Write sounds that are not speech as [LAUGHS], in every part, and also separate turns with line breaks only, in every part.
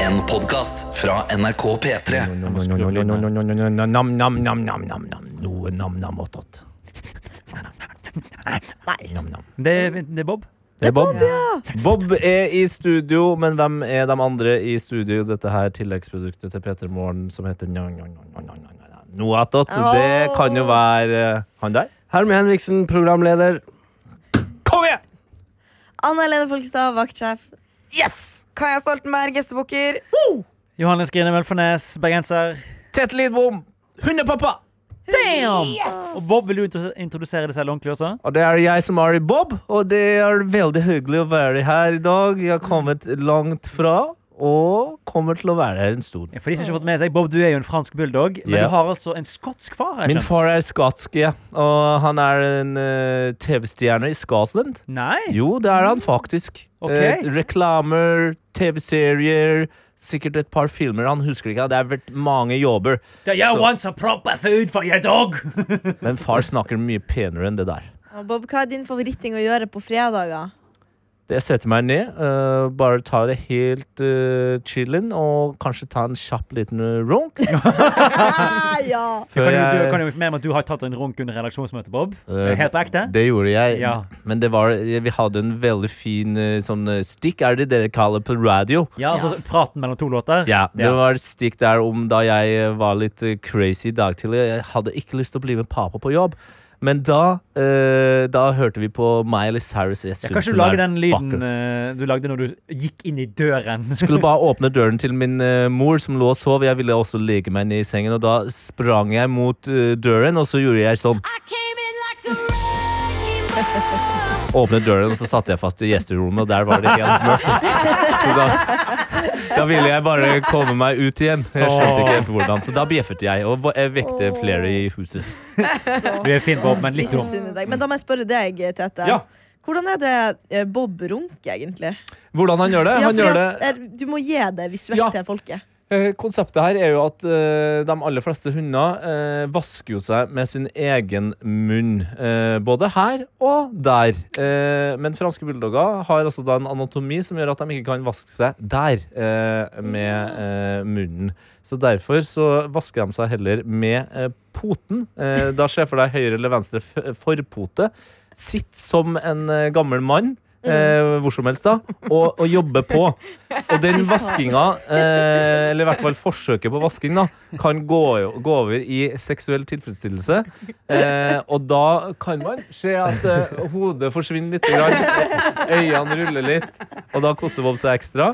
En podcast fra NRK P3
Nam-nam-nam-nam-nam. Noe nam-nam-åttått.
Nei.
Nam-nam.
Det, det er Bob.
Det er Bob. Bob er i studio, men hvem er de andre i studio? Dette her tilleggsproduktet til P3 Morgen som heter nja, nja, nja, nja, nja, nja. Noe attåt. Det kan jo være eh, han der.
Hermie Henriksen, programleder.
Kom igjen!
Anna Helene Folkestad, vaktsjef.
Kaja Stoltenberg, gjestebukker.
Johannes Grine Velfornes, bergenser.
Tete Lidbom. Hundepappa.
Damn! Og Bob, vil du intro- introdusere deg selv ordentlig også?
Og det er jeg som er Bob, og det er veldig hyggelig å være her i dag. Jeg har kommet langt fra, og kommer til å være her en stund.
Ja, For de som ikke har fått med seg, Bob, du er jo en fransk bulldog, men
Ja.
du har altså en skotsk far. har jeg
Min
skjønt.
far er skotsk, ja. Og han er en eh, TV-stjerne i Scotland.
Nei?
Jo, det er han faktisk.
Ok.
Eh, reklamer, TV-serier, sikkert et par filmer. Han husker ikke, det har vært mange jobber.
Do you
Så-
want some proper food for your dog?
Men far snakker mye penere enn det der.
Og Bob, hva er din favoritting å gjøre på
[LAUGHS]
fredager?
Jeg setter meg ned, eh, bare tar det helt uh, chillen og kanskje ta en kjapp liten eh, runk.
Ah, ja.
Du
før
kan, jo, du
jeg-
kan jo informere om at du har tatt en runk under redaksjonsmøtet, Bob.
Eh,
Helt på ekte?
Det gjorde jeg.
Ja.
Men det var, vi hadde en veldig fin eh, sånn eh, stikk, er det dere kaller på radio?
ja, altså praten mellom to låter?
Ja, det
Ja.
var et stikk der om da jeg eh, var litt eh, crazy i dag tidlig. Jeg hadde ikke lyst til å bli med pappa på jobb. Men da, eh, da hørte vi på Miley Cyrus. Jeg
Ja,
synes
Kanskje du
hun
lager
er
den lyden
vakker.
eh, du lagde når du gikk inn i døren? [LAUGHS]
Skulle bare åpne døren til min eh, mor som lå og sov. Jeg ville også legge meg ned i sengen, og da sprang jeg mot eh, døren, og så gjorde jeg sånn. [LAUGHS] Åpnet døren, og så satte jeg fast i gjesterommet, og der var det helt mørkt. Så da, da ville jeg bare komme meg ut igjen. Jeg skjønte ikke helt hvordan. Så da bjeffet jeg, og jeg vekte flere i huset.
Du er fin, Bob, men
Vi
litt
synes
dum.
synd i dag. Men da må jeg spørre deg, Tete.
sånn- Ja.
Hvordan er det eh, Bob runker, egentlig?
Hvordan han gjør det?
Ja,
Han
fordi
gjør
at,
det
eh, du må gi det visuelt
Ja.
til folket.
Eh, Konseptet her er jo at eh, de aller fleste hunder eh, vasker jo seg med sin egen munn. eh, både her og der. Eh, men franske bulldogger har altså da en anatomi som gjør at de ikke kan vaske seg der eh, med eh, munnen. Så derfor så vasker de seg heller med eh, poten. Eh, da ser jeg for deg høyre eller venstre f forpote. Sitt som en eh, gammel mann. Eh, hvor som helst, da. Og, og jobbe på. Og den vaskinga, eh, eller i hvert fall forsøket på vasking, da, kan gå, gå over i seksuell tilfredsstillelse. Eh, og da kan man se at eh, hodet forsvinner litt, grann, øynene ruller litt, og da koser Bob seg ekstra.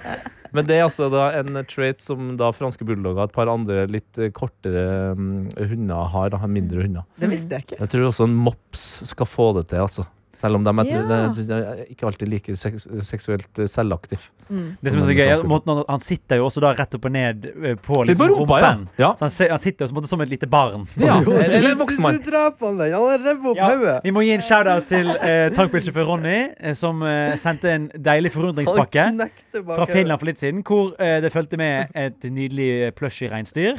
Men det er altså da en trait som da franske bulldogger og et par andre litt eh, kortere mm, hunder har. Da, mindre hunder.
Det visste jeg ikke.
Jeg tror også en mops skal få det til, altså. Selv om de er,
Ja.
de er ikke alltid like seks, seksuelt eh, selvaktiv.
Det som er så gøy, er måten han- Han sitter jo også da rett opp og ned
Se
eh, på
på
liksom,
sånn rumpa, ja.
rumpen.
ja.
Så han, se- han sitter jo som, på en måte som et lite barn.
ja. Eller eller en voksen mann.
Du drap han den. Han rev opp hodet.
Vi må gi en shout-out til eh, tankbilsjåfør Ronny, eh, som eh, sendte en deilig forundringspakke
Han knekte bak
fra
hodet.
Finland for litt siden, hvor eh, det fulgte med et nydelig eh, plushy-reinsdyr.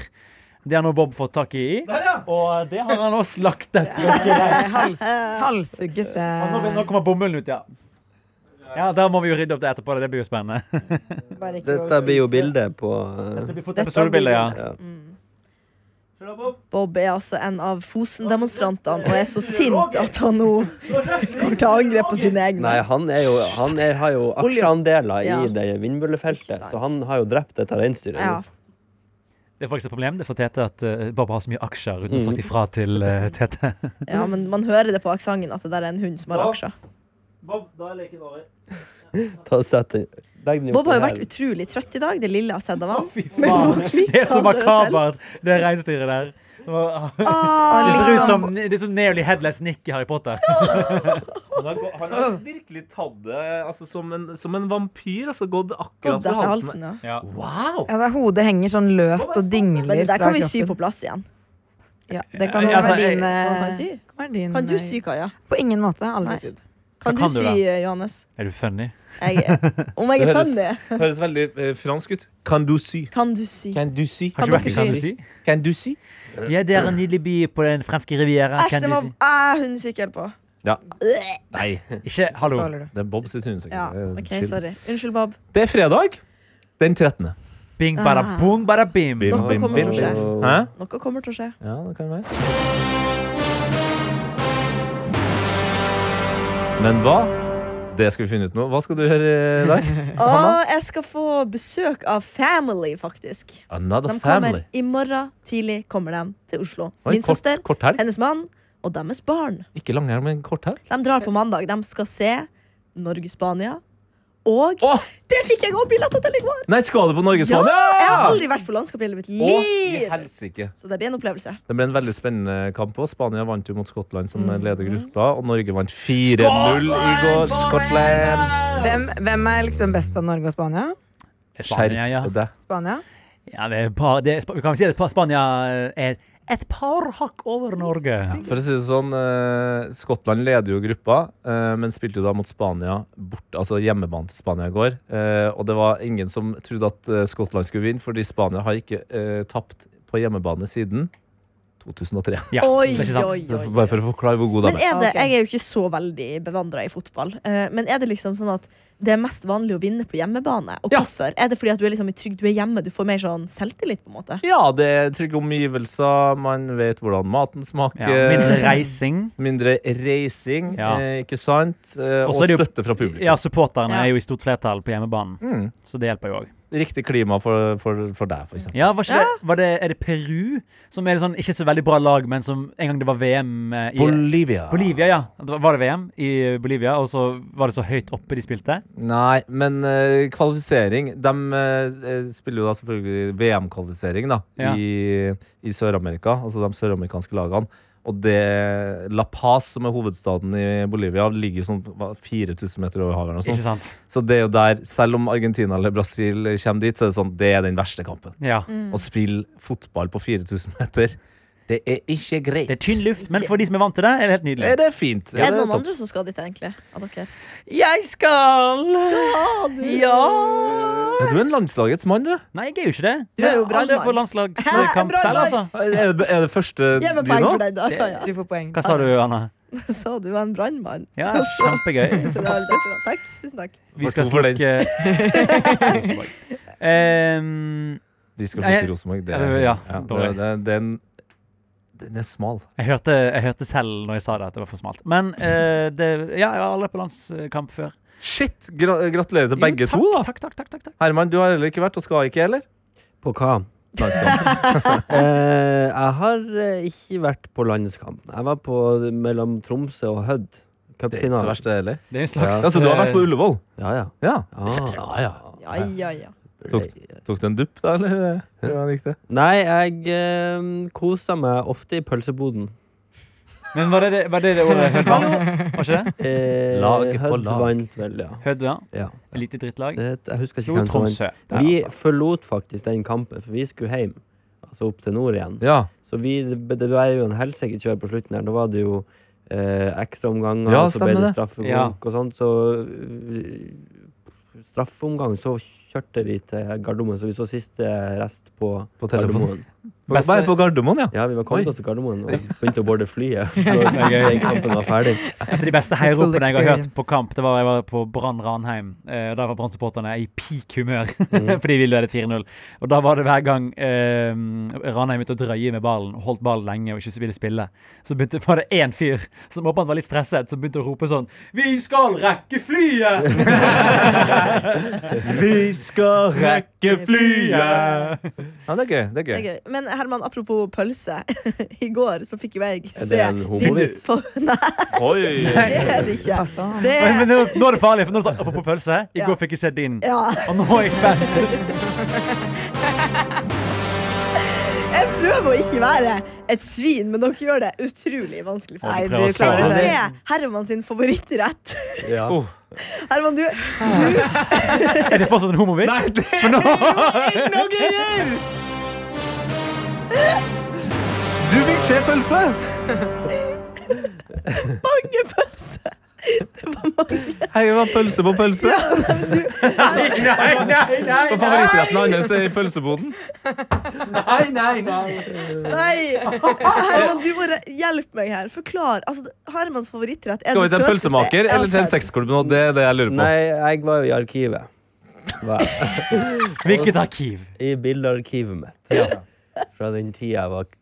Det har nå Bob fått tak i, og eh, det har han også slaktet.
Eh, Hals, halshugget
Og nå,
eh,
nå kommer bomullen ut, ja. Ja, Der må vi jo rydde opp det etterpå. Det blir jo spennende.
bare ikke
Dette blir jo bildet på
Det blir fort
Dette
episodebilde, ja.
ja.
Bob er altså en av Fosen-demonstrantene og er så sint at han nå kommer til å angre på sine egne.
Nei, han, er jo, han er, har jo aksjeandeler
Ja.
i det
Ikke
vindbøllefeltet,
sant.
så han har jo drept dette reinsdyret.
Ja.
nå.
Det er faktisk et problem. Det er for Tete at eh, Bob har så mye aksjer uten å ha sagt ifra til eh, Tete.
ja, men man hører det på aksenten at det der er en hund som har aksjer.
[LAUGHS] Ta og sett den- Legg den jo
Bob
på
har jo
her.
vært utrolig trøtt i dag, det lille jeg har sett av ham.
Fy
Men nå
faen.
klikker altså
Det er så altså.
han seg
makabert, det reinsdyret der. Det var-
Ah,
[LAUGHS] Det ser ut
liksom.
som, det er som Neoli Headless Nick i Harry Potter.
Han har, gå- han har virkelig tatt det altså, som, en, som en vampyr. Altså, gått akkurat
Gått
for
etter
halsen.
halsen,
Ja.
ja.
Wow!
Ja, der Hodet henger sånn løst og dingler
Men det der kan vi
fra
sy på
kroppen.
plass igjen.
Ja, det kan
Ja, altså,
være din,
Så
eh,
man kan, sy.
kan være din
kan du
eh,
sy, Kaja?
På ingen måte. Aldri
Nei.
sydd.
Kan
Kan
du
du
sy,
det?
eh, Johannes?
Er du funny?
Jeg, om jeg
Det
er
høres-
funny?
Høres veldig eh, fransk ut. Kan du sy?
Kan du sy?
Kan du sy?
Har ikke vært i Kan du
si?
Kan du sy?
Ja, det er en nydelig by på den franske riviera.
Æsj,
Kan
det
du
var
si?
ah, hundesikker på.
Ja.
Øh,
Nei,
Ikke hallo.
Tåler du.
det er Bob sitt hundesikker.
Ja,
Det er
ok,
chill.
sorry. Unnskyld, Bob.
Det er fredag den 13.
Bing, bada
Ah.
boom, bada bim.
Bim,
Noe
bim,
kommer
bim,
til å skje.
bim. Hæ?
Noe kommer til å skje.
Ja, det kan være. Men hva? Det skal vi finne ut nå. Hva skal du gjøre i [LAUGHS] dag?
Og jeg skal få besøk av family, faktisk.
Another
De kommer
family.
I morgen tidlig kommer de til Oslo.
Oi,
Min
kort,
søster,
Kort helg.
hennes mann og deres barn.
Ikke lang helg, men kort helg.
De drar på mandag. De skal se Norge-Spania. Og
Åh!
det fikk jeg òg billetter til i går!
Nei, skal du på
Ja,
Norgesbanen?
jeg har aldri vært på landskap i hele mitt
Å, i
liv!
helsike.
Så det blir en opplevelse.
Det ble en veldig spennende kamp. også. Spania vant jo mot Skottland, som
Mhm.
leder gruppa. Og Norge vant 4-0 i går. Skottland!
Hvem, hvem er liksom best av Norge og Spania?
Skjerp ja.
Skjerp deg.
Spania?
Ja, det er bare, det er, Sp- vi kan si at Spania eh, er et par hakk over Norge.
For å si det sånn, eh, Skottland leder jo gruppa, eh, men spilte jo da mot Spania bort, altså hjemmebanen til Spania i går. Eh, og det var ingen som trodde at eh, Skottland skulle vinne, fordi Spania har ikke eh, tapt på hjemmebane siden 2003.
Ja,
Oi,
det er ikke sant?
oi, oi.
Bare for å forklare hvor god de
Men
er.
er det,
Ok.
Jeg er jo ikke så veldig bevandra i fotball. eh, Men er det liksom sånn at det er mest vanlig å vinne på hjemmebane? Og
Ja.
hvorfor? Er det fordi at du er liksom i trygg, du er hjemme, du får mer sånn selvtillit? på en måte
Ja, det er trygge omgivelser, man vet hvordan maten smaker.
Ja, mindre reising.
Mindre reising,
Ja.
eh, ikke sant? Eh,
Og
og
så er det jo-
støtte fra publikum.
Ja, supporterne
Ja.
er jo i stort flertall på hjemmebanen,
Mm.
så det hjelper jo òg.
Riktig klima for, for, for deg, for eksempel.
Ja, var ikke Det, var det, er det Peru som er et sånn, ikke så veldig bra lag, men som en gang det var VM eh, i
Bolivia.
Bolivia, ja. Det var- Var det VM i Bolivia, og så var det så høyt oppe de spilte?
Nei, men eh, kvalifisering De eh, spiller jo da selvfølgelig VM-kvalifisering da
Ja.
i, i Sør-Amerika, altså de søramerikanske lagene. Og det La Paz, som er hovedstaden i Bolivia, ligger sånn hva, 4000 meter over havet. eller noe
Ikke
sånt.
sant?
Så det er jo der, selv om Argentina eller Brasil kommer dit, så er det sånn, det er den verste kampen.
Ja.
Mm.
Å spille fotball på 4000 meter, det er ikke greit.
Det er tynn luft, men for de som er vant til det, er det helt nydelig.
Er det fint?
Er det noen
topp?
andre som skal dit, egentlig? Av dere?
Jeg skal Ja
Ja, du er en landslagets mann, du.
Nei, jeg er jo ikke det.
Du er jo
Jeg har aldri vært på
brannmann.
landslagskamp
Hæ,
selv,
brannmann?
altså.
Er det, er det første
Gi meg
di
poeng
nå?
for den, da. Kaja.
Du får poeng.
Hva sa du, Anna?
[LAUGHS] Så du var en brannmann. [LAUGHS]
Ja, [LAUGHS] kjempegøy.
Så det var veldig bra. Takk. Tusen takk.
Vi skal
Takk for den.
[LAUGHS]
snakke Ehm,
Vi skal
Nei,
flytte til Rosenborg. Det,
ja,
er- ja,
dårlig.
det, det, den, den er smal.
jeg, hørte, jeg hørte selv når jeg sa det, at det var for smalt. Men eh, [LAUGHS] det, ja, jeg har aldri vært på landskamp før.
Shit! Gra gratulerer til [LAUGHS]
Jo,
begge
takk,
to. da
Takk, takk, takk, takk, takk.
Herman, du har heller ikke vært, og skal ikke heller.
På hva?
Landskamp.
[LAUGHS]
[LAUGHS]
Eh, jeg har eh, ikke vært på landskamp. Jeg var på mellom Tromsø og Hødd.
Det er ikke så
Cupfinalen.
verst, det heller.
Det er en
slags,
slags eh,
Altså, du har vært på Ullevål?
Ja, ja.
Ja.
Ah.
Ja, ja, ja.
Tok, tok du en dupp, da, eller? Hvordan gikk det?
Nei, jeg eh, kosa meg ofte i
[LAUGHS]
pølseboden.
Men var det det, var det, det ordet Hødd vant? Var ikke det?
Eh,
Laget på
Hødd
lag.
vant vel, ja.
Hødd, ja.
ja.
Et lite drittlag.
Det, jeg husker ikke
Slo
hvem som vant.
Tromsø. altså.
Vi forlot faktisk den kampen, for vi skulle hjem. Altså opp til nord igjen.
Ja.
Så vi, det det ble jo en helsike kjør på slutten her. Da var det jo eh, ekstraomganger,
Ja,
og så ble
stemmer
det
det.
straffekonk
Ja.
og sånt. Så øh, straffeomgang, så kjørte vi til Gardermoen, så vi så siste rest på,
På telefonen.
Gardermoen.
Beste-
Bare på Gardermoen, ja.
Ja, vi var
Oi.
kommet oss til Gardermoen og begynte å boarde
[LAUGHS]
flyet. når den kampen var ferdig.
Et av de beste heiropene jeg har hørt
experience.
på kamp, det var jeg var på Brann Ranheim. Eh, der var Brann-supporterne i peak humør [LAUGHS]
Mm.
fordi vi ledet 4-0. Og da var det hver gang eh, Ranheim begynte å drøye med ballen, og holdt ballen lenge og ikke ville spille, så begynte, var det én fyr som åpenbart var litt stresset, som begynte å rope sånn Vi skal rekke flyet!
[LAUGHS] Vi skal rekke
flyet!
Ja, det er gøy. Det er
Det er
gøy.
gøy. Men Herman, apropos pølse. [LAUGHS] I går så fikk jo jeg
Er
se
det en homovits?
på- [LAUGHS] Nei,
Oi!
det er det ikke.
Passa.
Det
Men, men
er
nå, nå er det farlig, for nå er det sånn apropos pølse. I
Ja.
går fikk jeg sett din.
Ja.
Og nå er jeg spent.
Jeg prøver å ikke være et svin, men dere gjør det utrolig vanskelig for meg.
Nei, du
prøver å
Jeg
klarer
får
det.
se Herman sin favorittrett. [LAUGHS]
Ja.
Oh.
Herman, du
Er det fortsatt en homovits?
Nei, det er jo ille og gøyer! Du fikk se pølse!
mange pølser! Det var mange.
Hei, det var pølse på pølse.
Nei, nei, nei, nei,
Og favorittretten hans er i pølseboden.
nei, nei, nei.
[LAUGHS] Nei! Herman, du må re- hjelpe meg her. Forklar. Altså, Hermans favorittrett er
Skal vi
den
til en
søteste
pølsemaker
jeg har
eller til en
sett.
sexklubb nå? Det er det jeg lurer på.
Nei, jeg var jo i arkivet. Hva-
Hvilket arkiv?
I bildearkivet mitt. Fra den tida jeg var k-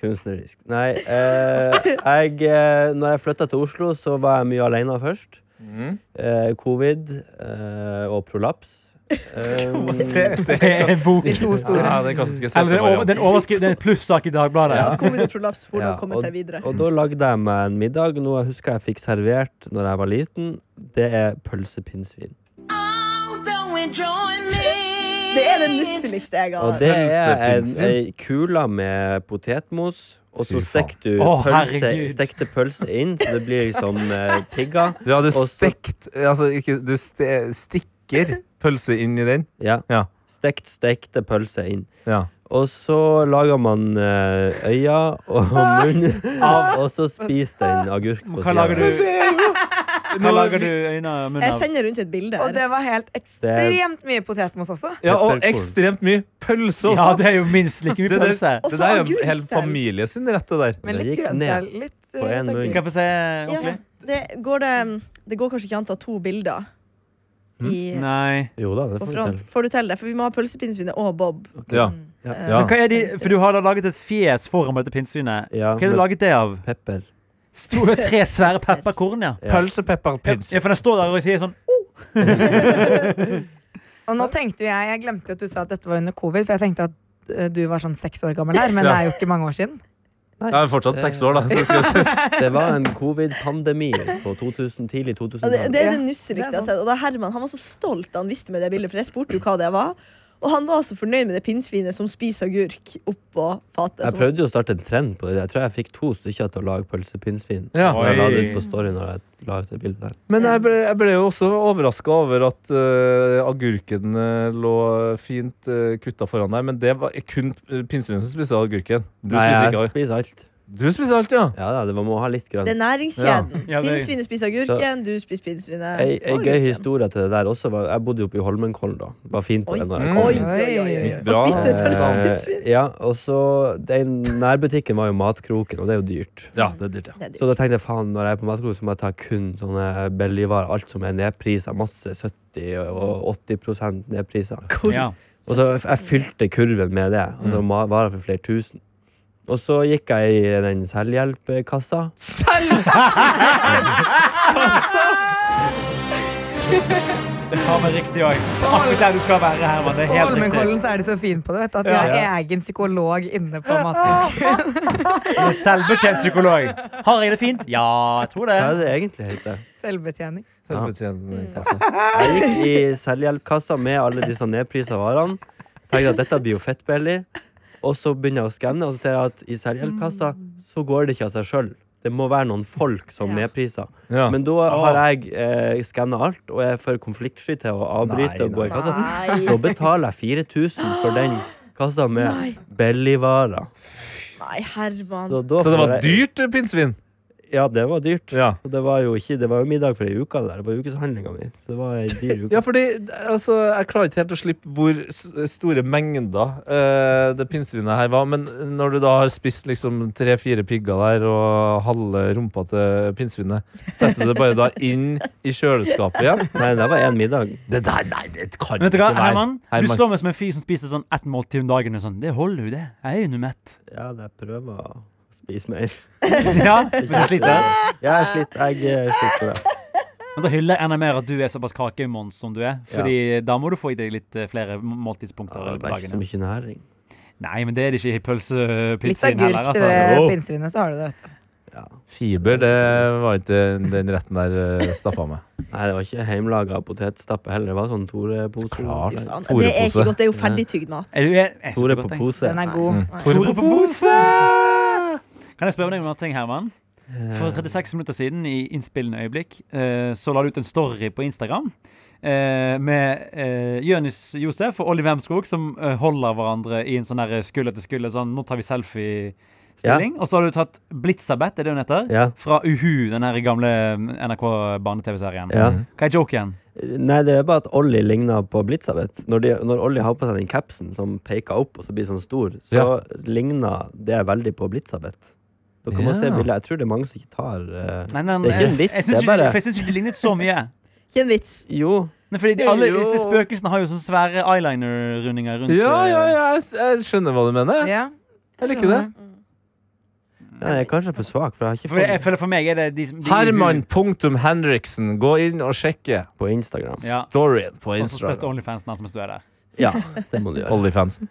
kunstnerisk. Nei, eh, jeg eh, Når jeg flytta til Oslo, så var jeg mye aleine først. Eh, covid eh, og
[LAUGHS]
prolaps. Eh,
Det er en bok.
De to store.
Ja, den klassiske
Eller det er over- det er en overskrift, det er en plussak i Dagbladet.
Ja.
Covid og prolaps, hvordan
Eh, Ja,
komme seg videre?
og da lagde jeg meg en middag. Noe jeg husker jeg fikk servert når jeg var liten. Det er pølsepinnsvin.
Det er det nusseligste jeg
Og
har.
det er en,
Pølsepinnsvin?
ei kule med potetmos. Og så
Fy faen.
stekte du
Å,
pølse,
herregud.
stekte pølse inn, så det blir liksom eh, pigger.
Du hadde
Og så-
stekt Altså, ikke Du ste, stikker pølse inn i den.
Ja.
Ja.
Stekt, stekte pølse inn.
Ja.
Og så lager man eh, øyne
[LAUGHS]
og munn, og så spiser den agurk på
Hva lager
siden.
du, hva lager du øynene og munnen
Jeg
av?
sender rundt et bilde
Og
her.
det var helt ekstremt mye potetmos også.
Ja, og
Pepperkorn.
ekstremt mye pølse
Ja,
også.
det er jo minst like mye
Det der-
pølse.
Og
Det
så
der er
agurk
jo hele
der.
familien sin rett, det der.
Men
Det
litt
gikk
grønt.
ned
ja, Litt, eh,
på en
litt
munn.
Kan jeg få se
Ja,
ordentlig?
det, går det, det går kanskje ikke an å ta to bilder i,
Nei.
Jo da, Mm. det
på
får vi
front.
til.
Får du til det? For vi må ha pølsepinnsvinet og Bob.
Ja.
Eh,
Ja.
Men hva er de, for du har da laget et fjes foran på dette pinnsvinet.
Ja,
Hva har du
med
laget det av?
pepper.
Sto det tre svære pepperkorn, ja?
Ja.
Pølse, pepper,
Ja,
pins.
for den står der og sier sånn
Og nå tenkte jo jeg, jeg glemte jo at du sa at dette var under covid, for jeg tenkte at eh, du var sånn seks år gammel her, men det er jo ikke mange år siden.
Jeg er fortsatt seks år, da. Det skal jeg si.
Det var en covid-pandemi på 2000,
Ja,
tidlig
det,
2000-tall.
det er det
Ja,
nusseligste
det
jeg
er
har sett. Og da Herman han var så stolt da han visste med det bildet, for jeg spurte jo hva det var. Og han var så fornøyd med det pinnsvinet som spiser agurk oppå
sånn-
fatet.
Jeg
Så,
prøvde jo å starte en trend på det. Jeg tror jeg fikk to stykker til å lage pølsepinnsvin.
Ja.
Og Jeg la det
Oi.
ut på story når jeg la ut det bildet der.
Men jeg ble, jeg ble jo også overraska over at eh, agurken eh, lå fint eh, kutta foran deg, men det var kun eh, pinnsvinet som spiste agurken. Du
Nei,
spiser
jeg
ikke agurk.
spiser alt.
Du spiser alt, ja.
Ja da, det var, må ha litt grønt.
det er næringskjeden.
Ja, det-
Pinnsvinet spiser agurken, du spiser pinnsvinet.
Ei, ei
og
gøy
agurken.
historie til det der også var Jeg bodde jo oppe i Holmenkollen da. Var fint på
Oi,
det når jeg kom.
oi, oi, oi, oi.
Mm.
Og spiste
Bra.
pølsepinnsvin.
Eh, ja, og så Den nærbutikken var jo matkroken, og det er jo dyrt.
Ja, det er dyrt, ja.
Det er dyrt.
Så da tenkte jeg faen, når jeg er på matkroken, så må jeg ta kun sånne billigvarer. Alt som er nedprisa. Masse 70 og 80 nedpriser.
Hvor-
Ja.
Og så jeg fylte kurven med det. Altså
Mm.
ma- varer for flere tusen. Og så gikk jeg i den selvhjelpkassa.
Ta med riktig òg. Akkurat der du skal være, Herman. Det er
På
helt riktig.
Holmenkollen så er de så fine på det, vet du, at de har egen psykolog inne på matkaken.
Du er Selvbetjent psykolog. Har jeg det fint? Ja, jeg tror det.
Hva er det egentlig heter?
Selvbetjening.
Mm.
Selvbetjening.
Jeg gikk i selvhjelpkassa med alle disse nedprisa varene. Tenkte at dette blir jo fettbillig. Og så begynner jeg å skanne, og så ser jeg at i selvhjelpkassa så går det ikke av seg sjøl. Det må være noen folk som
Ja.
nedpriser.
Ja. Ah.
Men da har jeg eh, skanna alt, og jeg er for konfliktsky til å avbryte
Nei,
og gå i kassa.
Nei,
Da betaler jeg 4000 for den kassa
Nei.
med billigvarer.
nei, Herman.
Så, da
Så det
får
var
jeg-
dyrt eh, pinnsvin?
Ja, det var dyrt.
Ja.
Og det var jo ikke Det var jo middag for ei uke, det der. Det var ukeshandlinga mi. Så det var ei dyr uke.
Ja, fordi altså, jeg klarer ikke helt å slippe hvor s- store mengder eh, det pinnsvinet her var. Men når du da har spist liksom tre-fire pigger der og halve rumpa til pinnsvinet, setter du det bare da inn i kjøleskapet igjen?
Nei, det var én middag.
Det der, nei, det [LAUGHS] kan
Men Vet du hva, Herman? Du
Herman.
slår meg som en fyr som spiser sånn ett måltid om dagen. Og sånn. Det holder jo, det. Jeg er jo nå
[LAUGHS]
mett.
Ja, jeg prøver å spise mer.
Ja, men du sliter.
Ja, jeg sliter. Jeg eh, sliter på det.
Men da hyller jeg enda mer at du er såpass kakemons som du er. Fordi da må du få i deg litt eh, flere måltidspunkter.
Det
på
var ikke så
dagen.
mye næring.
Nei, men det er det ikke i
Litt
pølsepizzaen
agurk
heller.
til
Altså.
det
Jo.
pinnsvinet, så har du det. vet du.
Fiber, det var ikke den retten der eh, stappa med.
Nei, det var ikke heimelaga potetstappe heller. Det var sånn
Klart.
Faen,
Tore-pose.
Det er
Torepose.
ikke godt, det er jo ferdigtygd mat.
Er du, jeg, jeg,
Tore
jeg-
på
jeg-
pose.
Den er god.
Mm.
Tore på pose! Kan jeg spørre deg om en ting, Herman?
Eh.
For 36 minutter siden, i innspillende øyeblikk, eh, så la du ut en story på Instagram eh, med eh, Jonis Josef og Oliver Hemskog som eh, holder hverandre i en sånn der skulder til skulder, sånn 'nå tar vi selfie-stilling'. Og så har du tatt Blitzabeth, er det hun heter?
Ja.
Fra Uhu, den her gamle eh, NRK-barne-TV-serien.
Ja.
Hva er joken?
Nei, det er bare at Ollie ligner på Blitzabeth. Når, de, når Ollie har på seg den capsen som peker opp og så blir sånn stor, så
Ja.
ligner det veldig på Blitzabeth. Dere må
Ja.
se bildet. Jeg tror det er mange som ikke tar eh,
Nei, nei,
Det er ikke en
jeg-
vits,
Jeg
det
syns
er bare-
ikke, for jeg syns ikke det lignet så mye.
Ikke en vits.
Jo,
Nei, fordi de,
Det er
alle
jo-
disse spøkelsene har jo sånne svære eyeliner-rundinger
[LAUGHS]
rundt.
Ja,
eh,
ja, ja, jeg, s- jeg skjønner hva du mener.
Ja.
Jeg liker det.
Nei, jeg er kanskje for svak, for jeg har ikke
eh, For, jeg
fått
føler for meg er det de som de-
Herman.Henriksen, gå inn og sjekke
på Instagram.
Ja.
storyen på
Og så støtt
Instagram.
Onlyfansen hans mens du er der.
Ja, det må du gjøre.
Ollifansen.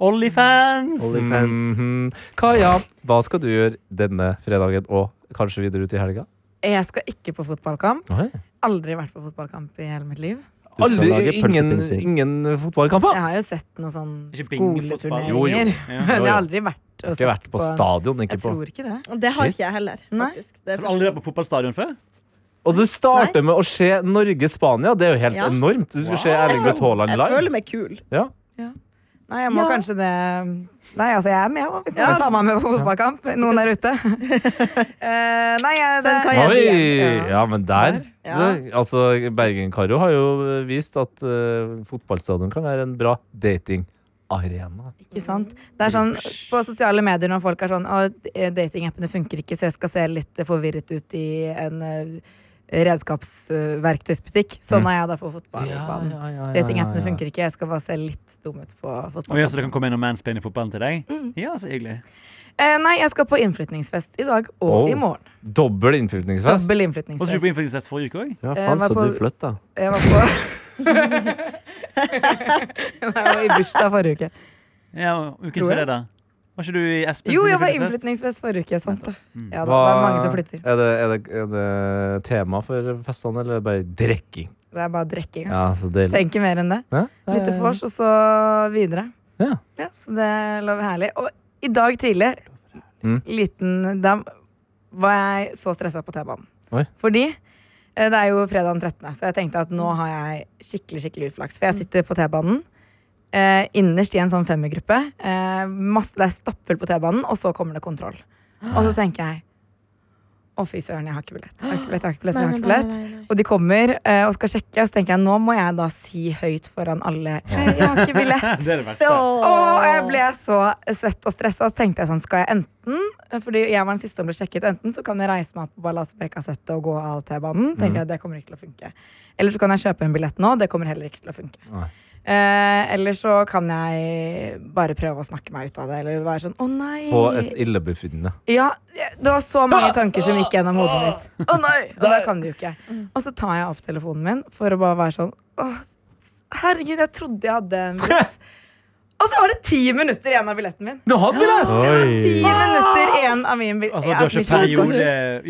Onlyfans!
Onlyfans.
Mhm. Kaja, hva skal du gjøre denne fredagen og kanskje videre ut i helga?
Jeg skal ikke på fotballkamp.
Nei.
Aldri vært på fotballkamp i hele mitt liv.
Du skal lage
Aldri, ingen,
pølsepinnsvin.
ingen fotballkamper?
Jeg har jo sett noen sånn
Ikke bingefotball.
Jo, jo.
skoleturneringer.
Ja.
Men jeg har
jo.
aldri vært og
Ikke vært på stadion, ikke
Jeg
på
tror ikke det.
Og det har
Shit.
ikke jeg heller.
Nei.
faktisk. Det er
Har du aldri vært på fotballstadion før?
Og du starter med å se Norge-Spania. Det er jo helt
Ja.
enormt. Du skal se
Wow.
Erling Braut Haaland
Jeg
live.
føler meg kul.
Nei, jeg må
Ja.
kanskje det Nei, altså jeg er med, da, hvis noen
Ja.
vil ta meg med på fotballkamp. Noen der [LAUGHS] ute. Eh, nei, jeg,
Send
det,
Kaja. Ja,
Oi!
det-
Ja, men der.
Ja.
Det, altså, Bergen-Karo har jo vist at eh, fotballstadion kan være en bra datingarena.
ikke sant? Det er sånn på sosiale medier når folk er sånn Å, datingappene funker ikke, så jeg skal se litt forvirret ut i en redskapsverktøysbutikk.
Mm.
Sånn er jeg da på fotballbanen. Datingappene funker ikke, jeg skal bare se litt dum ut på
Om jeg, så
fotballkamp.
det kan komme inn og mansplaine fotballen til deg? Ja, så hyggelig.
Eh, nei, jeg skal på innflytningsfest i dag og
Oh.
i morgen.
Dobbel innflytningsfest.
Dobbel
Og så
innflytningsfest.
på innflyttingsfest forrige uke òg.
Ja,
Eh,
faen,
hva
så
på-
du flytta.
Jeg var på [LAUGHS] Nei, jeg var i bursdag forrige uke.
Ja, uken
Tror
før
jeg.
det, da. Var ikke du i Espens
Jo, jeg var
innflyttingsfest?
innflytningsfest forrige uke. sant det.
Mm.
Ja, da, det er mange som flytter.
Er det, er, det, er det tema for festene, eller er det bare drikking?
Det er bare drikking. altså. ass.
Ja, så deilig.
Trenger ikke mer enn det.
Ja, det
Litt
er-
vors, og så videre.
Ja.
Så det lover herlig. Og i dag tidlig,
Mm.
liten Da var jeg så stressa på T-banen.
Oi.
Fordi eh, det er jo fredag den 13., så jeg tenkte at nå har jeg skikkelig skikkelig uflaks. For jeg sitter på T-banen. Eh, innerst i en sånn femmergruppe. Eh, masse, det er stappfullt på T-banen, og så kommer det kontroll. Og så tenker jeg å, fy søren, jeg har ikke billett. Jeg har ikke billett, jeg har ikke billett, jeg har ikke billett. Og de kommer eh, og skal sjekke, og så tenker jeg nå må jeg da si høyt foran alle «Eh, Jeg har ikke billett.
[LAUGHS] det er det verste.
Åh.
Og jeg ble så svett og stressa, så tenkte jeg sånn Skal jeg enten Fordi jeg var den siste som ble sjekket, enten så kan jeg reise meg opp på Ballasbekassettet og gå av
Mhm.
T-banen. Tenker jeg, det kommer ikke til å funke Eller så kan jeg kjøpe en billett nå. Det kommer heller ikke til å funke.
Nei.
Eh, eller så kan jeg bare prøve å snakke meg ut av det, eller være sånn Å, nei.
På et illebefinnende.
Ja, det var så mange tanker som gikk gjennom hodet mitt. Å nei, Og da kan det jo ikke. Og så tar jeg opp telefonen min for å bare være sånn Åh, Herregud, jeg trodde jeg hadde en billett. Og så var det ti minutter igjen av billetten min.
Du har billett!
Oi.
Ti minutter igjen av min billett.
Altså, du har kjøpt periode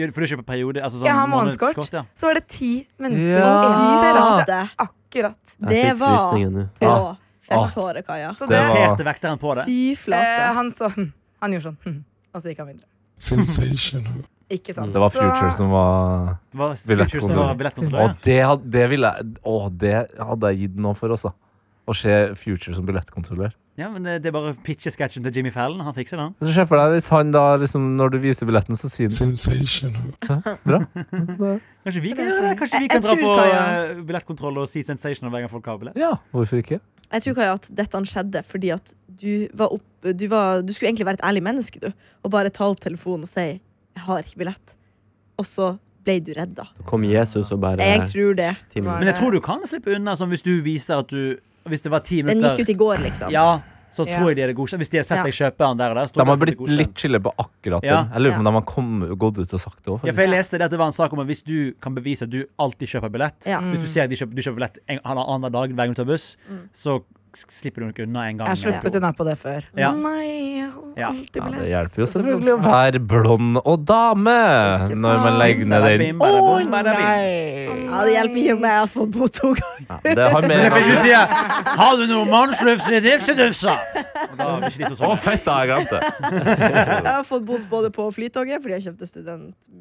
ja, For du kjøper periode? Altså, sånn
Jeg har
månedskort,
månedskort.
ja.
Så var det ti minutter
Ja.
igjen.
Fy
Det rakk jeg
flate.
akkurat.
Det
Jeg fikk
var
frysninger nå.
på
Ah.
fett håret, Kaja.
Så det,
Det var-
Daterte vekteren på det.
Fy
eh,
flate.
han så [LAUGHS] hm, Han gjorde sånn, hm, og så gikk han videre.
Sensational.
Ikke sant?
Det var Future
så,
som var
Det var
Billettkontroll.
Futures som var billettkontroll, ja.
Og det, had- det ville jeg Å, det hadde jeg gitt noe for, altså. Å se Future som billettkontrollør.
Ja, men det, det er bare å pitche sketsjen til Jimmy Fallon. Han fikser den.
Så Se for deg hvis han da liksom Når du viser billetten, så sier han
Sensational.
Kanskje vi kan gjøre det? Kanskje vi
Jeg-
kan dra
jeg tror
på
Kaja-
eh, billettkontroll og si sensational hver gang folk har billett?
Ja, hvorfor ikke?
Jeg tror Kaja, at dette skjedde fordi at du var opp du, var, du skulle egentlig være et ærlig menneske, du. Og bare ta opp telefonen og si 'jeg har ikke billett'. Og så ble du redda.
Da kom Jesus og bare
Jeg tror det.
ti minutter.
Men jeg tror du kan slippe unna sånn hvis du viser at du Hvis det var ti
Den
minutter
gikk ut i går, liksom.
Ja, så
Ja.
tror jeg de hadde godkjent. Hvis de hadde sett
Ja.
deg kjøpe den der og der. så tror
De
jeg
har
de
blitt
hadde godkjent.
litt chille på akkurat
Ja.
den. Jeg lurer på om de har kommet, gått ut og sagt det òg.
Ja, for jeg leste det at det var en sak om at hvis du kan bevise at du alltid kjøper billett
Ja.
Hvis du ser at de kjøper, du kjøper billett en annen annen dag hver gang du tar buss, så s- slipper du nok unna en gang.
jeg har sluppet unna på det før.
Ja.
Å Nei, jeg har
Ja.
alltid
Ja,
billett.
det hjelper jo
Og så
selvfølgelig å
blunker man.
være blond og dame når
Ikke
man
sant.
legger ned den.
Å,
Ja, det hjelper ikke om jeg har fått bot to ganger.
Ja, det har
Men det
mer
er fordi du sier 'Har du noe mannslufs i dipsedufsa?' Og da blir ikke de så
Å,
sånn.
fett, da! Jeg glemte det.
Jeg har fått bot både på Flytoget, fordi jeg kjøpte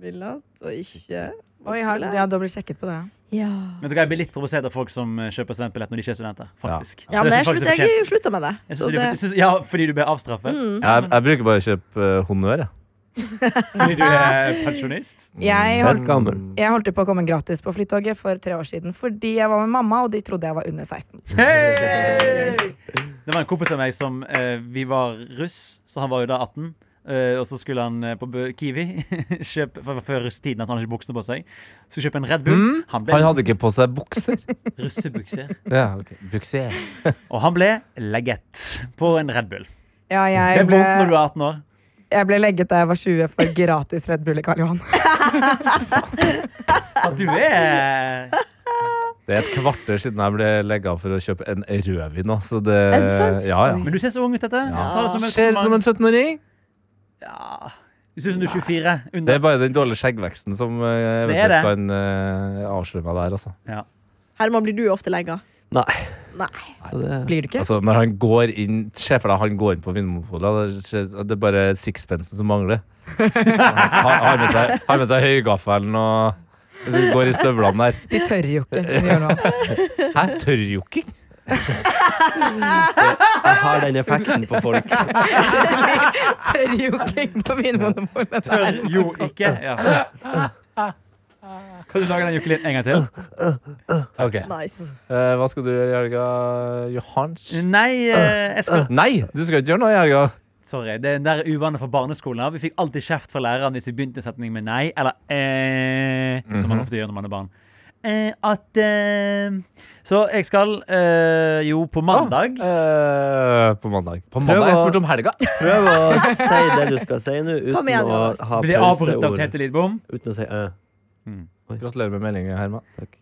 studentbillett, og ikke
Oi, har, jeg har dobbelt sjekket på det.
Mm.
ja.
Ja.
Men vet du hva, jeg blir litt provosert av folk som eh, kjøper studentbillett når de ikke er studenter. faktisk.
ja,
Så jeg
men jeg,
synes faktisk
slutt,
det
jeg,
er fortjent.
slutta med det.
Jeg
Så
synes
det, Mm.
du- synes- Ja, fordi du ble avstraffet?
Jeg, jeg bruker bare å kjøpe eh, honnør, jeg.
[LAUGHS] Fordi du er eh, pensjonist?
Jeg
Fett
holdt,
gammel.
jeg holdt jo på å komme gratis på Flytoget for tre år siden fordi jeg var med mamma, og de trodde jeg var under 16.
Hei! Det var en kompis av meg som eh, Vi var russ, så han var jo da 18. Eh, og så skulle han eh, på Bø- Kiwi [LAUGHS] kjøpe, for, for russetiden at han hadde ikke buksene på seg. Så kjøpe en Red Bull.
Mm.
Han ble
Han hadde ikke på seg bukser.
russebukser.
[LAUGHS] Ja, ok. Bukser.
Og han ble legget på en Red Bull.
Ja,
Det
jeg
er vondt når du
ble,
er 18 år.
[LAUGHS]
jeg ble legget da jeg var 20 for gratis Red Bull i Karl Johan.
At du er
Det er et kvarter siden jeg ble legga for å kjøpe en rødvin. nå, Så det,
Er det sant?
ja, ja.
Men du ser så ung ut, dette. Ta det som en
Ser ut som en 17-åring.
ja. Du ser ut som du er 24.
Det
Under.
er bare den dårlige skjeggveksten som eh,
Det er
eventuelt kan eh, avsløre meg der. Altså.
Herman, blir du ofte legga?
Nei.
Nei.
Så det,
Blir du ikke?
altså. Når han går inn Se for deg han går inn på Vinmonopolet. Det er- det er bare sixpensen som mangler. [LAUGHS] Han han har med seg, har med seg høygaffelen og går i støvlene der.
Vi tør jo ikke gjøre noe.
Hæ, tørrjokking?
jeg har den effekten på folk.
Tør jo ikke på Vinmonopolet.
Tør jo ikke. Ja. Kan du lage den jukkelinen en gang til?
Ok.
Nice.
Eh, hva skal du gjøre i helga, Johans?
Nei, eh, jeg skal
Nei, du skal ikke gjøre noe i helga.
Sorry, det er den der uvanen fra barneskolen. av. Vi fikk alltid kjeft fra læreren hvis vi begynte en setning med nei, eller eh, som
Mhm.
man ofte gjør når man er barn. Eh, at eh, Så jeg skal eh, jo på mandag
Eh, på mandag. På
Prøv
mandag?
å-
Jeg spurte om helga.
Prøv å si det du skal si nå,
Kom
uten
igjen,
å
Jonas.
ha
blir avbrutt av
pauseord.
Tete Lidbom.
Uten å si eh, æ.
Mm. Gratulerer med meldingen, Herman. Takk.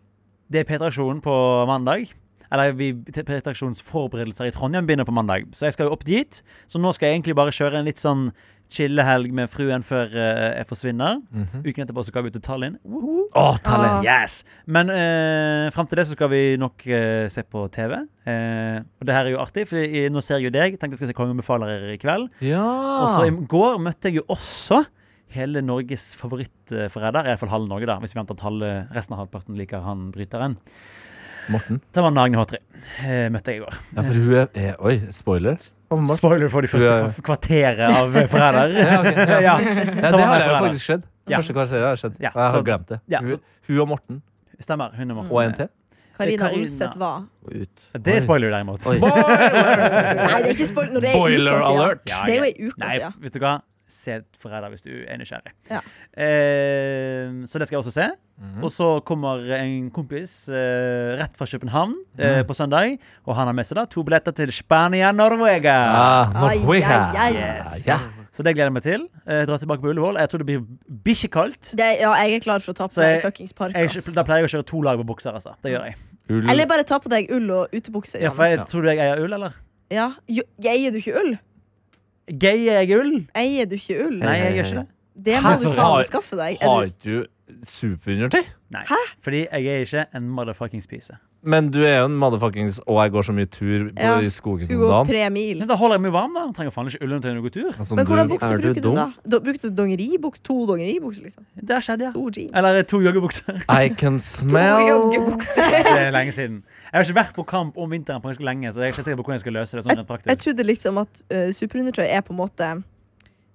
Det er P3aksjonen på mandag. Eller vi- P3aksjonens forberedelser i Trondheim begynner på mandag. Så jeg skal jo opp dit. Så nå skal jeg egentlig bare kjøre en litt sånn chillehelg med fruen før eh, jeg forsvinner.
Mhm.
Uken etterpå så skal vi ut til Tallinn. Woho!
Å,
Ah,
talent.
Yes! Men eh, fram til det så skal vi nok eh, se på TV. Eh, og det her er jo artig, for i- nå ser jeg jo deg. Tenkte jeg skal se Kongen befaler her i kveld.
Ja.
Og så i går møtte jeg jo også hele Norges favorittforræder. Iallfall halve Norge, da, hvis vi venter at halve, resten av halvparten liker han bryteren.
Morten.
Det var Nagne Håtri. Eh, møtte jeg i går.
Ja, for hun er, er Oi, spoiler. Åpenbart.
Spoiler for de
Du
første
er-
kva- kvarteret av forræder.
[LAUGHS] Ja, ok, [LAUGHS] ja.
[LAUGHS] ja.
Ja, det har jo faktisk skjedd.
Ja.
Første kvarteret har skjedd.
Ja,
jeg
så-
har glemt det.
ja,
Hun,
så-
hun og Morten
Stemmer. Hun er Morten.
og en til.
Karina
Karina.
Olseth
[LAUGHS]
var
Og ut.
Det er spoiler, derimot.
Nei, det er ikke spoil når det er ei
Boiler
uke siden.
alert.
Ja,
Det er jo
ja.
ei uke
Nei,
siden.
vet du hva? Se Forræder hvis du er nysgjerrig.
Ja.
Eh, så det skal jeg også se.
Mhm.
Og så kommer en kompis eh, rett fra København
Mhm.
eh, på søndag. Og han har med seg da to billetter til Spania, Norvega.
Ah,
Ai,
Norwegia.
ai, ai.
Ja.
Så det gleder jeg meg til. Eh, dra tilbake på Ullevål. Jeg tror det blir bikkjekaldt.
Det, ja, jeg er klar for å ta
Så
på meg
jeg-
fuckings park.
Jeg-
ass.
Da pleier jeg å kjøre to lag på bukser, altså. Det gjør jeg.
Eller bare ta på deg ull og utebukse.
Ja, for jeg
Johannes.
tror du jeg eier ull, eller?
Ja. Jo, eier du ikke ull?
Geier jeg ull?
Eier du ikke ull?
Nei, jeg gjør ikke det.
Det må
Hæ?
du
Så
faen
har-
skaffe deg.
Har
Er du,
ikke du superundertøy?
Nei. Fordi jeg er ikke en motherfuckings pyse.
Men du er jo en motherfuckings Og jeg går så mye tur både
Ja,
i skogen
du
om
går
dagen.
tre mil.
Men da holder jeg meg varm, da. Jeg trenger faen ikke ullundertøy når jeg går tur.
Altså,
Men
du-
hvordan bukse
Er du
bruker du
dum?
da? da bruker du dongeribuks? To dongeribukser, liksom?
Det har skjedd, ja.
To jeans?
Eller eh, to joggebukser. [LAUGHS]
I can smell
joggebukse.
Det er lenge siden. Jeg har ikke vært på kamp om vinteren på ganske lenge, så jeg er ikke sikker på hvordan jeg skal løse det. sånn rent
Jeg
praktisk.
trodde liksom at eh, superundertøy er på en måte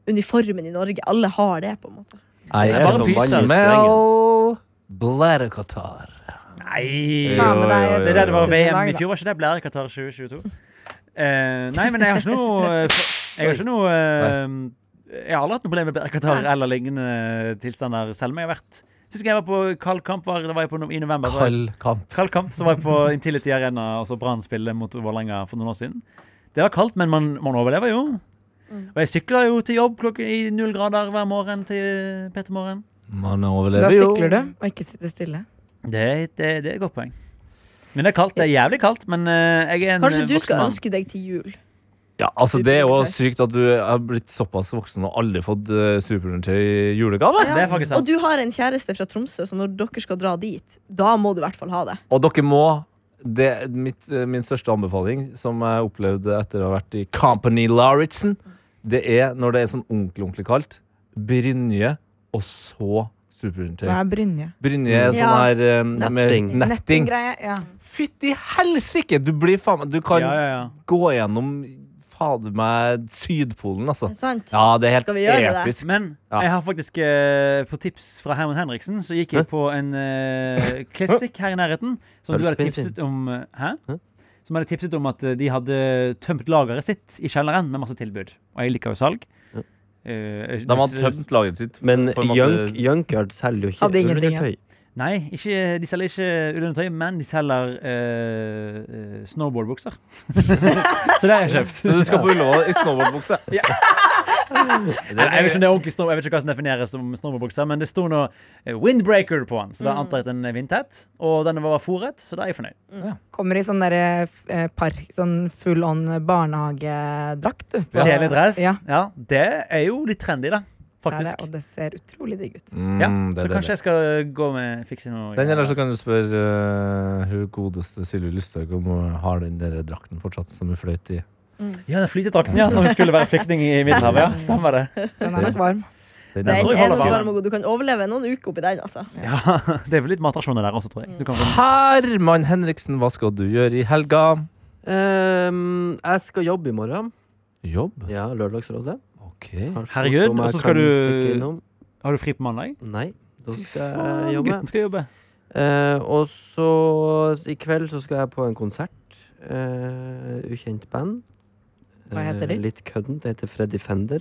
uniformen i Norge. Alle har det, på en måte.
I
Det er sånn
can
bare pyser.
smell bladekatar.
Nei!
Ta
Jo,
med deg
jo, jo,
Det er der det var
jo.
VM i fjor, var ikke det Blære Qatar 2022? Eh, nei, men jeg har ikke noe eh, f- Jeg har ikke noe eh, Jeg har aldri hatt noe problem med Blære Qatar eller lignende tilstander, selv om jeg har vært Sist gang jeg var på kald kamp, var, da var jeg på no i november. så var jeg-
Kald kamp.
Kald kamp, så var jeg på Intility Arena og så Brann spille mot Vålerenga for noen år siden. Det var kaldt, men man, man overlever jo.
Mm.
Og jeg sykler jo til jobb klokken i null grader hver morgen til PT-morgen.
Man
Da
overlever jo.
sykler du og ikke sitter stille.
Det, er- det, er- det er et godt poeng. Men det er kaldt, det er jævlig kaldt, men eh, jeg er en
Kanskje
eh,
du
voksen
skal
mann.
ønske deg til jul?
Ja, altså Det er jo
Superundertøy.
sykt at du har blitt såpass voksen og aldri fått eh, superundertøy i julegave.
Det er faktisk
Og
sant.
du har en kjæreste fra Tromsø, så når dere skal dra dit, da må du i hvert fall ha det.
Og dere må det er mitt, eh, Min største anbefaling, som jeg opplevde etter å ha vært i Company Lauritzen, det er når det er sånn ordentlig-ordentlig kaldt, brynje og så superundertøy.
Hva er brynje?
Brynje er sånn
Ja.
her eh, med
Netting.
netting.
Nettinggreie, ja.
Fytti helsike! Du blir faen meg Du kan
Ja, ja, ja.
gå gjennom fader meg Sydpolen, altså.
Sant?
Ja, det er helt
Skal vi gjøre det?
episk.
Men
Ja.
jeg har faktisk eh, på tips fra Herman Henriksen, så gikk jeg på en uh, klestikk her i nærheten som du hadde
Pølsepinnsvin.
tipset om eh, Hæ?
Hæ?
Som hadde tipset om at eh, de hadde tømt lageret sitt i kjelleren med masse tilbud. Og jeg liker jo salg. eh,
De har
s-
tømt lageret sitt.
Men
For masse-
Junk, Junkyard selger jo ikke
Hadde ingenting, ja.
undertøy.
Nei, ikke, de selger ikke ullundertøy, men de selger eh, eh, snowboardbukser. [LAUGHS] så det har jeg
[LAUGHS]
kjøpt.
Så du skal på Ullevål i snowboardbukse?
Nei, jeg, vet ikke om det er ordentlig snow, jeg vet ikke hva som defineres som snowboardbukser, men det sto nå eh, windbreaker på den. Så da antar jeg at den er vindtett, og den var fôret, så da er jeg fornøyd.
Kommer i sånn derre f- eh, park, sånn full on barnehagedrakt, du. På-
Kjedelig dress.
Ja.
Ja. det er jo litt trendy, da.
Det er det,
Faktisk.
og det ser utrolig digg ut.
[LAUGHS] Ja,
Mm, det
så
er
kanskje
deilig.
jeg skal gå med fikse noe.
Den altså- eller så kan du spørre eh, hun godeste Silje Lysthaug om hun har den der drakten fortsatt som hun fløyt i.
Ja, den flytedrakten, ja. Når vi skulle være flyktning i Middelhavet. Ja, stemmer det.
Den er nok varm.
Den
Den
er-
tror jeg
er
holder
nok
varm.
varm og god. Du kan overleve noen uker oppi den, altså.
Ja, Det er vel litt matrasjoner der også, tror jeg. Du kan
Herman Henriksen, hva skal du gjøre i helga?
Ehm, jeg skal jobbe i morgen.
Jobb?
Ja, Lørdagsrådet.
Ok.
Har spurt
Herregud,
om jeg
og så skal
kan
du-
stikke innom.
har du fri på mandag?
Nei, da skal
Faen,
jeg jobbe.
Gutten skal jobbe.
Eh, og så i kveld så skal jeg på en konsert. Eh, ukjent band.
Hva
Eh,
heter de?
Litt kødden. Det heter Freddy Fender.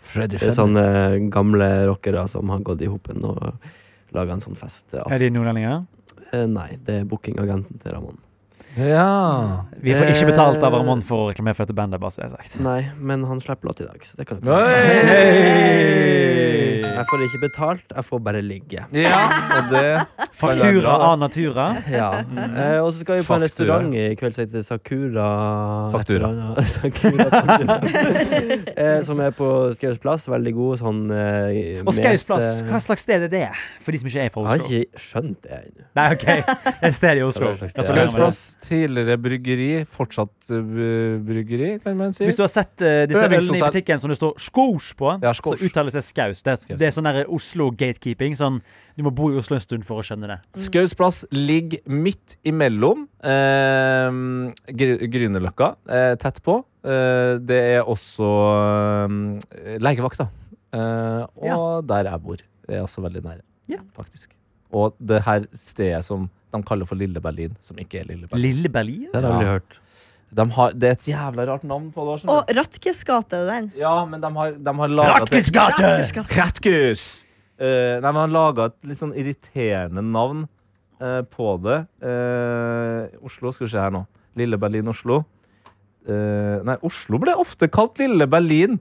Freddy
Det er
Fender.
sånne gamle rockere som har gått i hopen og laga en sånn fest. eh,
Er de nordlendinger?
Eh, nei, det er bookingagenten til Ramón.
Ja.
Vi får ikke betalt av
Eh.
Ramón for å reklamere for dette bandet, bare så det er sagt.
Nei, men han slipper låt i dag, så det kan jeg
Hei!
Jeg får ikke betalt, jeg får bare ligge.
ja. Og det
Faktura av Natura.
Ja. Eh, og så skal vi på
Faktura.
en restaurant i kveld som heter Sakura
Faktura.
Et eller annet. [LAUGHS] Sakura Faktura. [LAUGHS] eh, som er på Skaus plass. Veldig god sånn eh,
Og Skaus plass,
mese-
hva slags sted er det? For de som ikke er fra
Jeg har
Oslo.
ikke skjønt det ennå.
Nei,
[LAUGHS]
OK. Det er et sted i Oslo.
Det er et slags
Ja, så
sted.
kan man-
Skausplass, tidligere bryggeri, fortsatt eh, bryggeri, kan man si.
Hvis du har sett eh, disse
sånn
ølene i
Øvingshotell.
butikken som det står 'Skos' på,
Ja,
så
Skos.
uttales det 'Skaus'. Det,
Skaus.
det er sånn der Oslo-gatekeeping. Sånn, du må bo i Oslo en stund for å skjønne det.
Skaus plass ligger midt imellom eh, Gry- Grünerløkka, eh, tett på. Eh, det er også eh, legevakta. Eh, og
Ja.
der jeg bor. Det er også veldig nære,
Ja.
faktisk. Og det her stedet som de kaller for Lille Berlin, som ikke er Lille Berlin.
Lille Berlin?
Det har jeg aldri hørt.
De har, det er et jævla rart navn på det. skjønner
Og Røtkes gate er den.
du. Ja, men de har, de
Ah,
har laget det-
Røtkes gate.
Kratkus! Eh, nei, men han laga et litt sånn irriterende navn eh, på det. Eh, Oslo, skal vi se her nå. Lille Berlin, Oslo. Eh, nei, Oslo ble ofte kalt Lille Berlin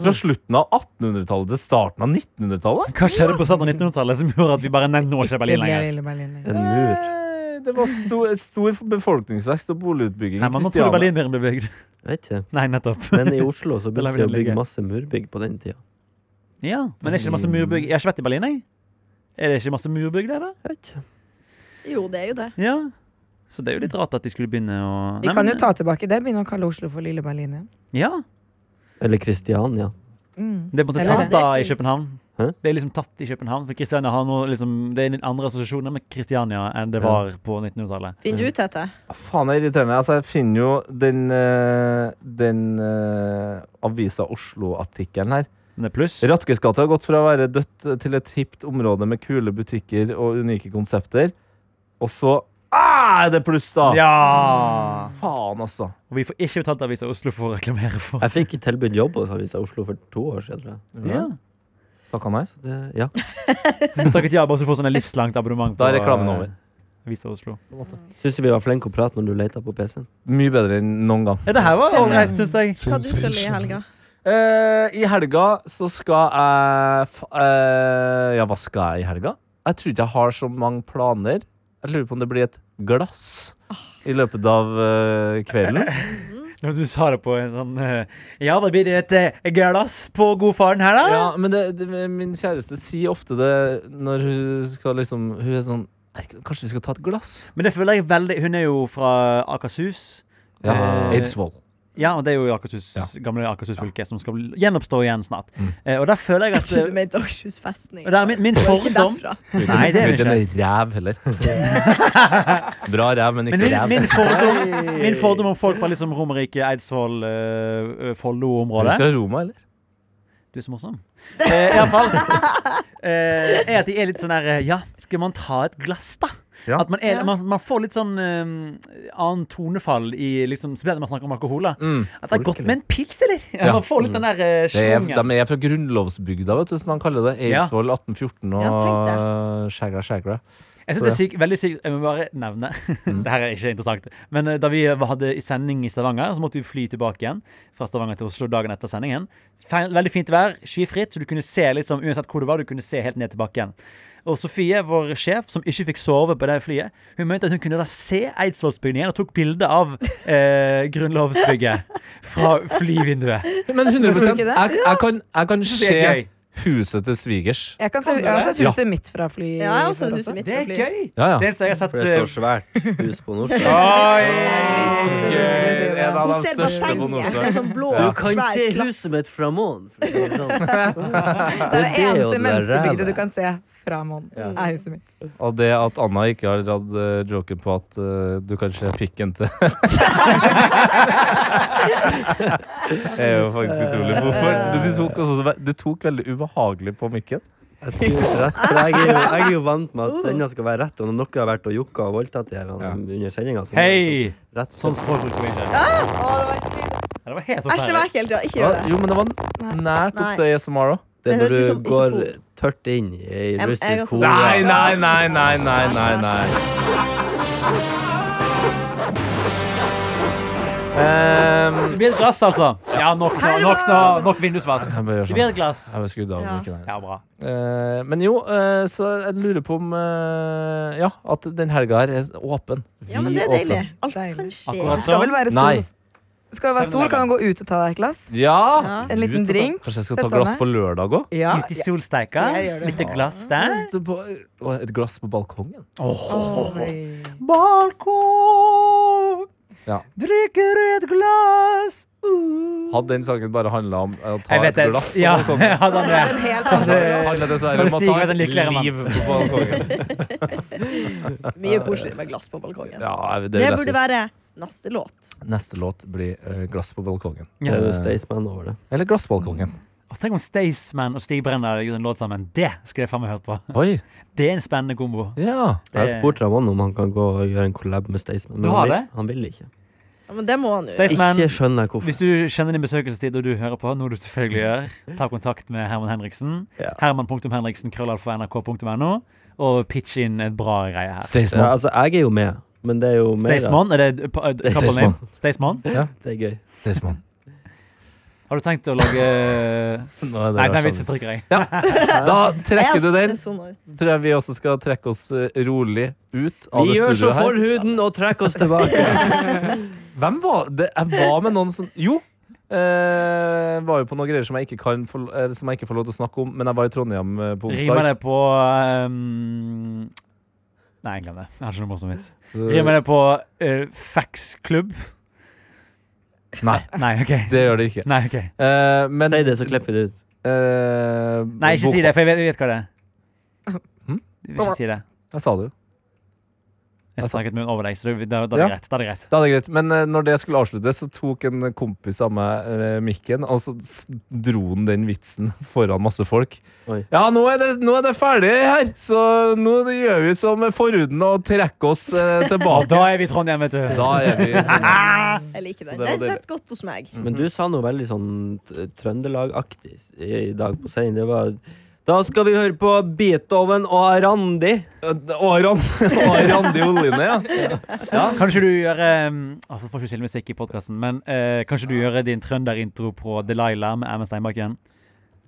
fra
Mm.
slutten av 1800-tallet til starten av 1900-tallet.
Hva skjedde på starten av 1900-tallet som gjorde at vi bare nevnte nå ikke er Berlin lenger?
En mur.
Eh, Det var stor, stor befolkningsvekst og boligutbygging
Nei,
i
man må tro
Kristiania.
Berlinmuren ble bygd.
Jeg vet ikke.
[LAUGHS] Nei, nettopp.
Men i Oslo
[LAUGHS]
så
lar
begynte
vi
de å
den ligge.
bygge masse murbygg på den tida.
Ja, men er ikke det masse murbygg Jeg har ikke vært i Berlin, jeg. Er det ikke masse murbygg der, da?
Jeg vet ikke.
Jo, det er jo det.
Ja. Så det er jo litt rart at de skulle begynne å
Vi
Nei,
kan
men-
jo ta tilbake det. Begynne å kalle Oslo for Lille Berlin igjen.
Ja.
Eller Kristiania.
Mm.
Det er på en måte tatt
Eller
det.
da i
Det er fint.
København.
Hæ?
Det er liksom tatt i København. For Kristiania har nå liksom Det er en andre assosiasjoner med Kristiania enn det var på 1900-tallet.
Finner du ut dette?
Faen, det er irriterende. Altså, jeg finner jo den, eh, den eh, avisa Oslo-artikkelen her.
Men det er pluss.
Ratkesgata har gått fra å være dødt til et hipt område med kule butikker og unike konsepter. Og så ah, er det pluss, da!
Mm.
Ja!
Faen, altså.
Og vi får ikke betalt avisa Oslo for å reklamere for.
Jeg fikk tilbudt jobb hos Avisa Oslo for to år siden. tror jeg.
Ja.
Takka meg.
Så det, ja.
Du takket ja bare så du får sånn et livslangt abonnement på
Da er reklamen over.
eh, Avisa Oslo.
Syns du vi var flinke å prate når du leita på PC-en?
Mye bedre enn noen gang.
Ja, det her var ålreit, syns jeg.
Hva du skal i helga?
Eh, I helga så skal jeg fa eh, Ja, hva skal jeg i helga? Jeg tror ikke jeg har så mange planer. Jeg lurer på om det blir et glass i løpet av eh, kvelden.
Når du sa det på en sånn eh, Ja, da blir det et eh, glass på godfaren her, da.
[LAUGHS] Ja, men det, det, min kjæreste sier ofte det når hun skal liksom Hun er sånn "Nei, Kanskje vi skal ta et glass?
Men det føler jeg veldig Hun er jo fra Akershus.
Ja,
Eh,
Eidsvoll.
Ja, og det er jo i Akershus,
Ja.
gamle Akershus fylke som skal gjenoppstå igjen snart.
Mm.
Eh, og der føler jeg
Jeg
at
trodde du mente Akershus festning.
og det er min, min
Det var ikke
fordom
derfra.
Nei, det er det
ikke en ræv heller. [LAUGHS] Bra ræv, men ikke
men min,
ræv.
min, fordom, min fordom om folk fra liksom Romerike, Eidsvoll, eh, eh,
Er du
Follo-området
fra Roma, eller?
Du er så morsom. Eh, i alle fall, eh, er at de er litt sånn her eh, Ja, skal man ta et glass, da?
Ja.
At man, er,
Ja.
man, man får litt sånn eh, annen tonefall i liksom, Spesielt når man snakker om alkohol. Da.
Mm.
At det er godt med en pils, eller?
Ja.
Man får litt den der eh,
Det er,
sjongen.
de er fra grunnlovsbygda, vet du, som de kaller det.
Ja.
Eidsvoll 1814 og
Ja,
eh, Skjægra
[LAUGHS]
Skjægra.
Jeg synes det er syk, veldig sykt Jeg må bare nevne [LAUGHS] Det her er ikke interessant. Men eh, da vi hadde i sending i Stavanger, så måtte vi fly tilbake igjen fra Stavanger til Oslo dagen etter sendingen. Fe- Veldig fint vær, skyfritt, så du kunne se liksom, uansett hvor du var, du kunne se helt ned til bakken. Og Sofie, vår sjef, som ikke fikk sove på det flyet, hun mente at hun kunne da se Eidsvollsbygningen og tok bilde av eh, grunnlovsbygget fra flyvinduet.
Men 100
ikke det?
jeg, jeg, kan, jeg kan se
gøy.
huset til svigers.
Jeg kan se, jeg har sett
Ja.
huset mitt fra fly.
Ja, jeg har også huset mitt.
Det er gøy!
Ja, ja.
Det eneste jeg har sett
For det står
eh,
svært hus på Nordsjøen.
Oi! En av
Hun
de største
ser
på
bassenget. Det er
Nordsjøen.
sånn blå,
Du kan
svær
se
klatt.
huset mitt fra månen. for å si det sånn.
Det er det
og
eneste
den der ræva.
menneskebygget du kan se fra månen.
Ja.
Er huset mitt.
Og det at Anna ikke har dratt eh, joken på at eh, du kan se pikken til [LAUGHS] Det er jo faktisk utrolig. Hvorfor? Du, du, tok, også, du tok veldig ubehagelig på mikken.
Jeg skriver
[LAUGHS]
rett, for jeg er, jo, jeg er jo vant med at denne skal være rett. Og når noen har vært og jokka og voldtatt de her
Ja.
under sendinga så må det
Hei!
liksom rett
Sånn språk bruker vi ikke. Ja, det var helt
Æsj, det var
forferdelig.
ekkelt. ja. Ikke
Ja,
gjør det.
jo, men det var nært opp til ASMR òg.
Det
Det
er når
høres ut
du
som
går
isopor.
tørt inn i
Jeg- jeg har
russisk
fått-
hore.
Nei, nei, nei, nei, nei, nei, nei. Ehm,
Det blir et glass, altså. Ja, nok, nå,
Hallo!
nok, nå, nok vindusvask.
jeg bare gjør
Det blir
sånn.
et glass.
Jeg bare skrudde av
Ja.
mikken hennes.
Ja, bra.
Eh, men jo, eh, så jeg lurer på om eh, Ja, at den helga her er åpen.
Ja, men det er
Vidåpen.
deilig. Alt
Deilig.
kan skje.
Akkurat
Skal vel
sånn.
være
Nei.
sol. Skal det være sol, kan du gå ut og ta deg et glass.
Ja!
En liten
Gud, altså.
drink.
Kanskje jeg skal ta
Sett deg
glass
ned.
på lørdag òg?
Ja.
Ute i solsteika.
Jeg gjør det.
Litt glass der.
Et glass på balkongen.
Oi.
Balkong,
Ja.
drikker et glass. Uh.
Hadde den sangen bare handla om eh, å ta
Jeg vet
et
det.
glass på
Ja, [LAUGHS]
balkongen
ja, den er.
En hel
Så
sånn-
handler det dessverre
For
om å
Stig
ta
vet en
et
lykkeligere mann.
liv på balkongen.
Mye koseligere med glass på balkongen.
Ja, jeg- det
Det
vil jeg
burde
si.
være neste låt.
Neste låt blir eh, 'Glass på balkongen'.
Det er
Eh,
jo Staysman over det.
Eller 'Glassbalkongen'.
Å, Tenk om Staysman og Stig Brenner gjorde en låt sammen. Det skulle jeg faen meg hørt på.
Oi!
Det er en spennende kombo.
Ja.
Jeg har
Det-
spurt Ramón om han kan gå og gjøre en collab med Staysman,
Du
men
har
han vil,
det?
han vil ikke.
Ja, men det må han jo.
Staysman,
Ikke skjønner jeg hvorfor.
hvis du kjenner din besøkelsestid og du hører på, noe du selvfølgelig gjør, ta kontakt med Herman Henriksen.
Ja.
Herman.henriksen krøllalfa nrk.no. Og pitch inn en bra greie her.
Ja,
Staysman.
altså, jeg er jo med, men det er jo mer at
Staysman, er det pa- eh, couple
Staysman.
name? Staysman?
det er gøy.
Staysman.
Har du tenkt å
[LAUGHS]
lage eh,
Nå er det
Nei, den
rart.
vitsen trykker jeg.
Da trekker du den.
Jeg sona ut.
Så tror jeg vi også skal trekke oss eh, rolig ut av
Vi
det
gjør så
studioet her.
forhuden og trekker oss tilbake.
[LAUGHS]
Hvem var det? Jeg var med noen som Jo! Eh, var jo på noen greier som jeg, ikke kan få, eh, som jeg ikke får lov til å snakke om, men jeg var i Trondheim eh, på
Rimer
onsdag.
det på ehm, Nei, glem det. Jeg har ikke noe morsomt vits. Rimer det på eh, faxklubb?
Nei,
Nei, OK.
det gjør det ikke.
Nei, ok
Eh, men
Si det, så klipper vi det ut.
eh,
Nei, ikke si det, for jeg vet, jeg vet hva det er.
Hm?
Ikke si det.
Jeg sa det jo.
Jeg snakket med henne over deg, så det- da, da, er det
Ja.
greit, da er det greit.
Da er det greit. Men eh, når det skulle avsluttes, så tok en kompis av meg eh, mikken, og så s- dro han den vitsen foran masse folk.
Oi.
Ja, nå er, det, nå er det ferdig her, så nå gjør vi som forhuden og trekker oss eh,
Og [LAUGHS]
tilbake.
da er vi i Trondheim, vet du.
Da er vi Eh,
Jeg liker
Så det
den.
var deilig.
Den sitter godt hos meg.
Men du sa noe veldig sånn t- Trøndelag-aktig i i dag på scenen. Det var Da skal vi høre på Beethoven og Arandi.
[LAUGHS] Aran. Aran de Oline, ja.
Kanskje du gjør um, oh, Får ikke til musikk i podkasten, men eh, kanskje du gjør din trønderintro på Delilah med Ermen Steinbakken?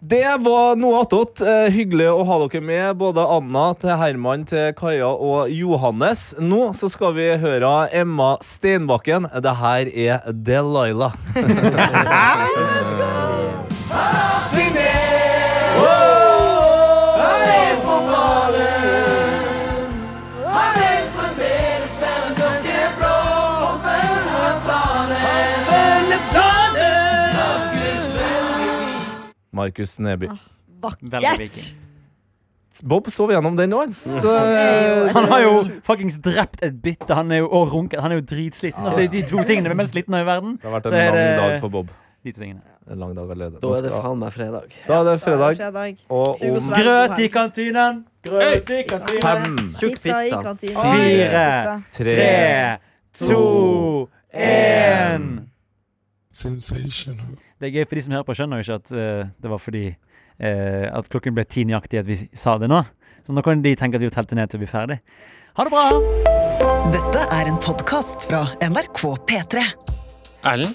Det var noe attåt. Eh, hyggelig å ha dere med, både Anna, til Herman, til Kaja og Johannes. Nå så skal vi høre av Emma Steinbakken. Det her er Delilah. Markus Neby.
Veldig viking.
Vakkert!
Bob sov gjennom den òg. [LAUGHS] Så
Han har jo fuckings drept et bitte han er jo, og runket. Han er jo dritsliten. Altså, det er de to tingene vi er mest slitne av i verden.
Det har vært
Så
en
er
lang
det-
dag for Bob.
De to tingene.
En lang dag allerede.
Da
Nå
er det
skal-
faen meg fredag.
da er det
Da er det
fredag.
fredag.
Og
Sug og
om
svelg.
Grøt i kantinen! Grøt i kantinen!
fem,
Tjukk
Pizza i
pizza.
kantina.
Oi,
Fire,
pizza.
tre
tre, to, én. Det er gøy, for de som hører på, skjønner jo ikke at eh, det var fordi eh, at klokken ble ti nøyaktig at vi sa det nå. Så nå kan de tenke at vi telte ned til vi er ferdig. Ha det bra!
Dette er en podkast fra NRK P3.
Erlend,